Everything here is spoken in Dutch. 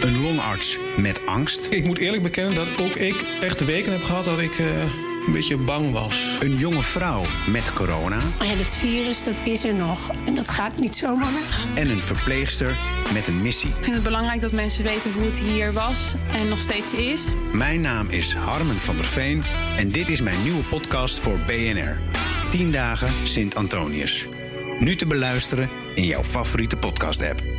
Een longarts met angst. Ik moet eerlijk bekennen dat ook ik echt weken heb gehad dat ik eh, een beetje bang was. Een jonge vrouw met corona. Maar ja, dat virus, dat is er nog. En dat gaat niet zomaar weg. En een verpleegster met een missie. Ik vind het belangrijk dat mensen weten hoe het hier was en nog steeds is. Mijn naam is Harmen van der Veen en dit is mijn nieuwe podcast voor BNR. 10 dagen Sint Antonius. Nu te beluisteren in jouw favoriete podcast-app.